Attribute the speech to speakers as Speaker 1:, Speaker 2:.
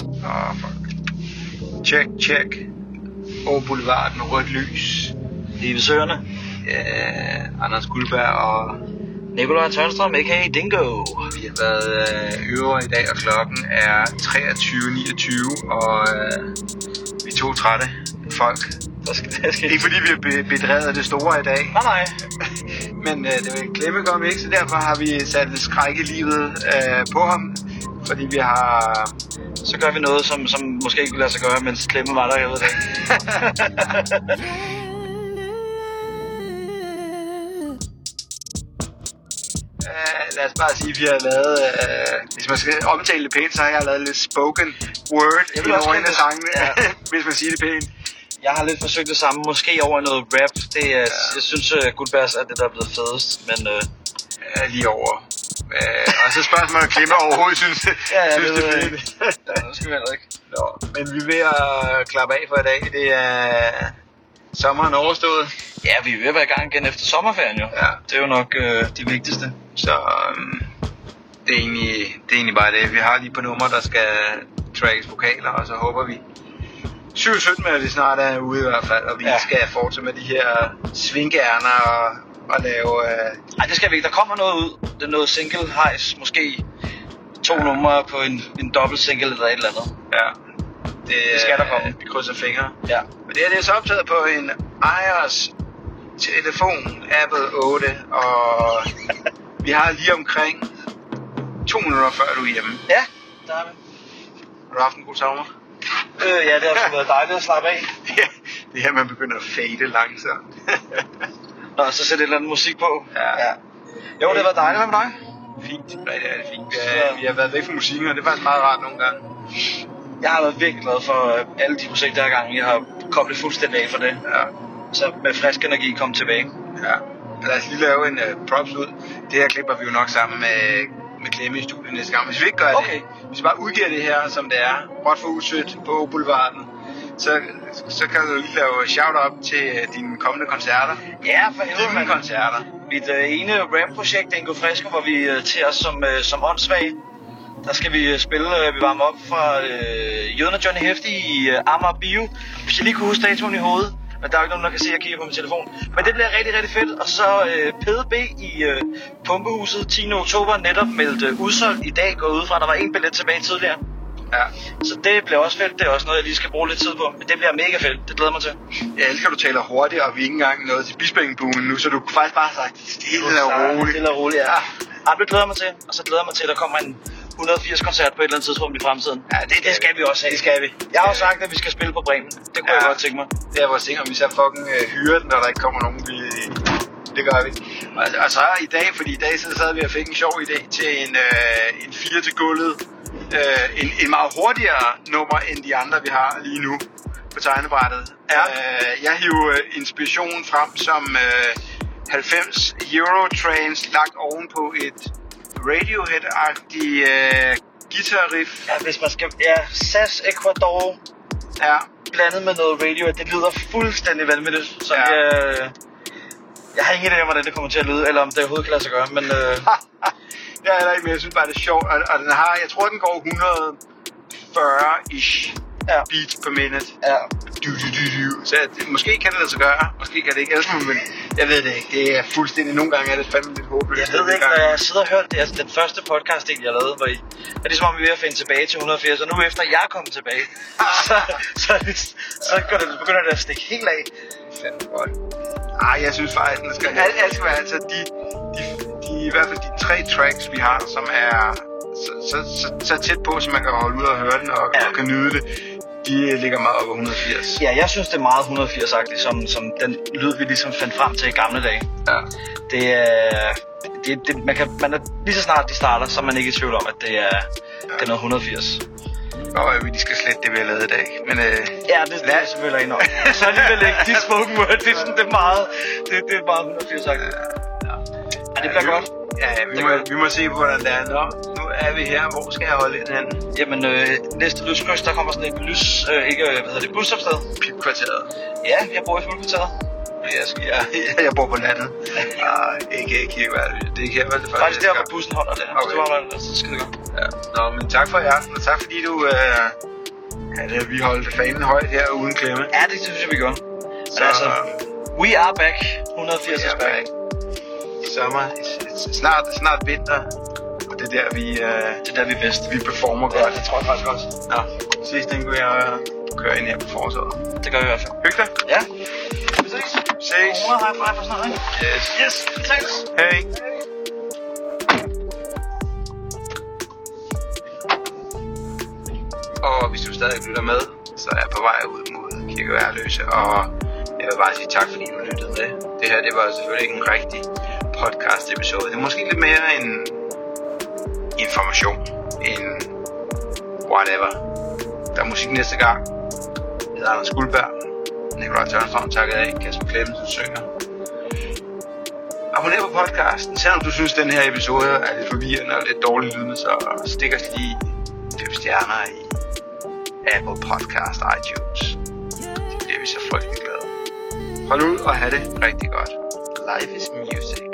Speaker 1: Åh, oh, fuck. Check, check. Over boulevarden, rødt lys.
Speaker 2: Livsøerne.
Speaker 1: Ja, Anders Guldberg og
Speaker 2: Nikolaj Tørnstrøm, a.k.a. Dingo.
Speaker 1: vi har været øh, øvre i dag, og klokken er 23.29, og øh, vi er to trætte folk.
Speaker 2: Der skal, der skal...
Speaker 1: Ikke fordi vi har be- bedrevet af det store i dag,
Speaker 2: Nej, nej.
Speaker 1: men øh, det var en klemme kom ikke, så derfor har vi sat lidt skræk i livet øh, på ham. Fordi vi har...
Speaker 2: Så gør vi noget, som, som måske ikke kunne lade sig gøre, mens Klemme var der, jeg ved det ikke.
Speaker 1: Øh, lad os bare sige, at vi har lavet... Øh, hvis man skal omtale det pænt, så har jeg lavet lidt spoken word i
Speaker 2: Jeg vil også
Speaker 1: nogle af
Speaker 2: kalde det-
Speaker 1: sangene, ja.
Speaker 2: ja.
Speaker 1: hvis man siger det pænt.
Speaker 2: Jeg har lidt forsøgt det samme, måske over i noget rap. Det er, ja. Jeg synes, at Guldbergs er det, der er blevet fedest, men øh,
Speaker 1: Ja, lige over. Øh, og så spørgsmålet, om Klima overhovedet synes,
Speaker 2: Ja,
Speaker 1: ja,
Speaker 2: ja,
Speaker 1: synes
Speaker 2: det
Speaker 1: det, er
Speaker 2: ved jeg
Speaker 1: fedt.
Speaker 2: det skal vi heller ikke.
Speaker 1: Nå, men vi er ved at klappe af for i dag. Det er sommeren overstået.
Speaker 2: Ja, vi er ved at være i gang igen efter sommerferien jo.
Speaker 1: Ja.
Speaker 2: Det er jo nok øh, det vigtigste.
Speaker 1: Så øhm, det, er egentlig, det er egentlig bare det. Vi har lige på nummer, der skal tracks vokaler, og så håber vi 7-17 med, at vi snart er ude i hvert fald, og vi
Speaker 2: Ja.
Speaker 1: ja. skal fortsætte med de her svinkærner og, og lave... Øh,
Speaker 2: Nej, det skal vi ikke. Der kommer noget ud. Det er noget single hejs, måske to ja. numre på en, en dobbelt single eller et eller andet.
Speaker 1: ja, det,
Speaker 2: Det skal der komme.
Speaker 1: øh, Vi krydser fingre.
Speaker 2: Ja.
Speaker 1: Men det her det er så optaget på en ejers telefon, Apple 8, og vi har lige omkring to minutter før du er hjemme.
Speaker 2: Ja, der er vi.
Speaker 1: Har du haft en god sommer?
Speaker 2: Øh, ja, det har sgu været dejligt at slappe af.
Speaker 1: Ja, det er her, man begynder at fade langsomt.
Speaker 2: Nå, så sæt et eller andet musik på.
Speaker 1: Ja.
Speaker 2: Jo, det har været dejligt. Hvad med dig?
Speaker 1: fint. Ja, det er det fint. Vi, er, vi har været væk fra musikken, og det er faktisk meget rart nogle gange.
Speaker 2: Jeg har været virkelig glad for øh, alle de projekter, jeg har gang i. Jeg har koblet fuldstændig af for det.
Speaker 1: Ja,
Speaker 2: Så med frisk energi komme tilbage.
Speaker 1: ja. Lad os lige lave en uh, props ud. Det her klipper vi jo nok sammen med, med Klemme i studiet næste gang. Hvis vi ikke gør
Speaker 2: Okay.
Speaker 1: det, hvis vi bare udgiver det her, som det er, råt for usødt på Boulevarden, så, så kan du lige lave shout-out til øh, dine kommende koncerter.
Speaker 2: Ja, for helvede,
Speaker 1: Dine
Speaker 2: mand.
Speaker 1: koncerter.
Speaker 2: Mit øh, ene rap-projekt, Dingo Fresco, hvor vi øh, til os som, øh, som åndssvage. Der skal vi øh, spille, øh, vi varmer op fra øh, Jøden og Johnny Hefti i øh, Amager Bio. Hvis jeg lige kunne huske datoen i hovedet, men der er jo ikke nogen, der kan se, at jeg kigger på min telefon. Men det bliver rigtig, rigtig fedt. Og så øh, PDB i øh, Pumpehuset 10. oktober, netop meldt øh, udsolgt i dag, går ud fra, der var en billet tilbage tidligere.
Speaker 1: Ja.
Speaker 2: Så det bliver også fedt. Det er også noget, jeg lige skal bruge lidt tid på. Men det bliver mega fedt. Det glæder jeg mig til.
Speaker 1: Jeg elsker, at du taler hurtigt, og vi er ikke engang nået til Bispingbuen nu, så du kan faktisk bare har sagt stille og roligt.
Speaker 2: Stille og roligt, ja. ja. det glæder jeg mig til. Og så glæder jeg mig til, at der kommer en 180-koncert på et eller andet tidspunkt i fremtiden.
Speaker 1: Ja, det skal
Speaker 2: det skal
Speaker 1: vi.
Speaker 2: vi også have.
Speaker 1: Det skal vi.
Speaker 2: Jeg har jo sagt, at vi skal spille på Bremen. Det kunne ja.
Speaker 1: Ja.
Speaker 2: jeg godt tænke mig.
Speaker 1: Det er vores ting, om vi så fucking øh, hyrer den, når der ikke kommer nogen. Vi, det gør vi. Og, og så i dag, fordi i dag så sad vi og fik en sjov idé til en, øh, en fire til gulvet. Øh, en, en meget hurtigere nummer end de andre, vi har lige nu på tegnebrættet.
Speaker 2: Ja.
Speaker 1: Øh, jeg hiver øh, inspiration frem som øh, 90 Euro Trains lagt ovenpå et Radiohead-agtigt øh, guitar-riff.
Speaker 2: Ja, hvis man skal... Ja, SAS Ecuador
Speaker 1: Ja.
Speaker 2: blandet med noget radio, det lyder fuldstændig vanvittigt. Så ja.
Speaker 1: Ja.
Speaker 2: jeg, jeg har ingen idé om, hvordan det kommer til at lyde, eller om det overhovedet kan lade sig gøre, men... Øh,
Speaker 1: Det er heller ikke, men jeg synes bare, det er sjovt. Og, og den har, jeg tror, den går 140-ish
Speaker 2: ja,
Speaker 1: beats per minute.
Speaker 2: ja.
Speaker 1: Du, du, du, du. Så det, måske kan det lade sig gøre, måske kan det ikke. Ellers, må man- jeg ved det ikke. Det er fuldstændig, nogle gange er det fandme lidt håbløst.
Speaker 2: Jeg ved
Speaker 1: Det er
Speaker 2: ikke,
Speaker 1: gang-
Speaker 2: når jeg sidder og hører det, altså den første podcast, del, jeg lavede, hvor I, er det som om, vi er ved at finde tilbage til 180, og nu efter jeg er kommet tilbage, så, så, er det- så, går det, begynder det at stikke helt af.
Speaker 1: Fandme godt. Ej, jeg synes faktisk, den skal, alt, alt skal være, altså de, de, de, i hvert fald de tre tracks, vi har, som er så, så, så, så tæt på, så man kan holde ud og høre den og,
Speaker 2: Ja.
Speaker 1: ja. og kan nyde det, de ligger meget op på 180.
Speaker 2: Ja, jeg synes, det er meget 180-agtigt, som, som den lyd, vi ligesom fandt frem til i gamle dage.
Speaker 1: Ja.
Speaker 2: Det er... Det, det, man, kan, man er, lige så snart de starter, så er man ikke i tvivl om, at det er, det er noget 180.
Speaker 1: Og øh, de skal slet det, vi har lavet i dag. Men øh,
Speaker 2: Ja, det, det er
Speaker 1: Lad-
Speaker 2: selvfølgelig en Så alligevel ikke de spoken word, det er, sådan, det er meget, det, det er meget 180 sagt. Ja, det bliver
Speaker 1: vi-
Speaker 2: godt.
Speaker 1: Ja, vi
Speaker 2: Det
Speaker 1: må,
Speaker 2: gør det.
Speaker 1: vi må se, hvordan det er. Nå, nu er vi her. Hvor skal jeg holde ind hen?
Speaker 2: Jamen, øh, næste lyskryds, der kommer sådan et lys, øh, ikke, øh, hvad hedder det, busstopsted.
Speaker 1: Pipkvarteret.
Speaker 2: Ja, jeg bor i Fuglekvarteret.
Speaker 1: Jeg, skal, jeg, jeg bor på landet. Nej, ikke, ikke, ikke. hvad er det? Det er ikke her, vel? Det er
Speaker 2: Faktisk der,
Speaker 1: ikke
Speaker 2: hvor bussen holder der. Okay.
Speaker 1: Okay.
Speaker 2: Så holder den der, så skide godt.
Speaker 1: her. Ja. Nå, men tak for i aften, og tak fordi du øh, at øh, vi holdt fanen højt her uden klemme.
Speaker 2: Ja, det synes jeg, vi gør.
Speaker 1: Så
Speaker 2: Så altså, we are back. 180 er
Speaker 1: er
Speaker 2: back.
Speaker 1: back. sommer, s- s- snart, snart vinter, og det er der, vi, øh,
Speaker 2: Det er der, vi er bedst.
Speaker 1: vi performer
Speaker 2: Ja,
Speaker 1: godt.
Speaker 2: det tror jeg faktisk også.
Speaker 1: Nå, sidst den kunne jeg køre ind her på forsøget.
Speaker 2: Det gør vi i hvert fald.
Speaker 1: Hyg dig.
Speaker 2: Ja. Vi ses.
Speaker 1: Ses.
Speaker 2: Corona, high five og sådan noget, ikke?
Speaker 1: Yes.
Speaker 2: Yes, vi ses.
Speaker 1: Hej. Og hvis du stadig lytter med, så er jeg på vej ud mod Kirkeværløse, og jeg vil bare sige tak, fordi du lyttede med. Det her, det var selvfølgelig ikke en rigtig podcast episode. Det er måske lidt mere en information, en whatever. Der er musik næste gang. Jeg hedder Anders Guldberg. Nikolaj Tørnstrøm takket af. Kasper Klemmensen synger. Abonner på podcasten, selvom du synes, den her episode er lidt forvirrende og lidt dårlig lydende, så stik os lige fem stjerner i Apple Podcast iTunes. Så bliver vi så frygtelig glade. Hold ud og have det rigtig godt. Life is music.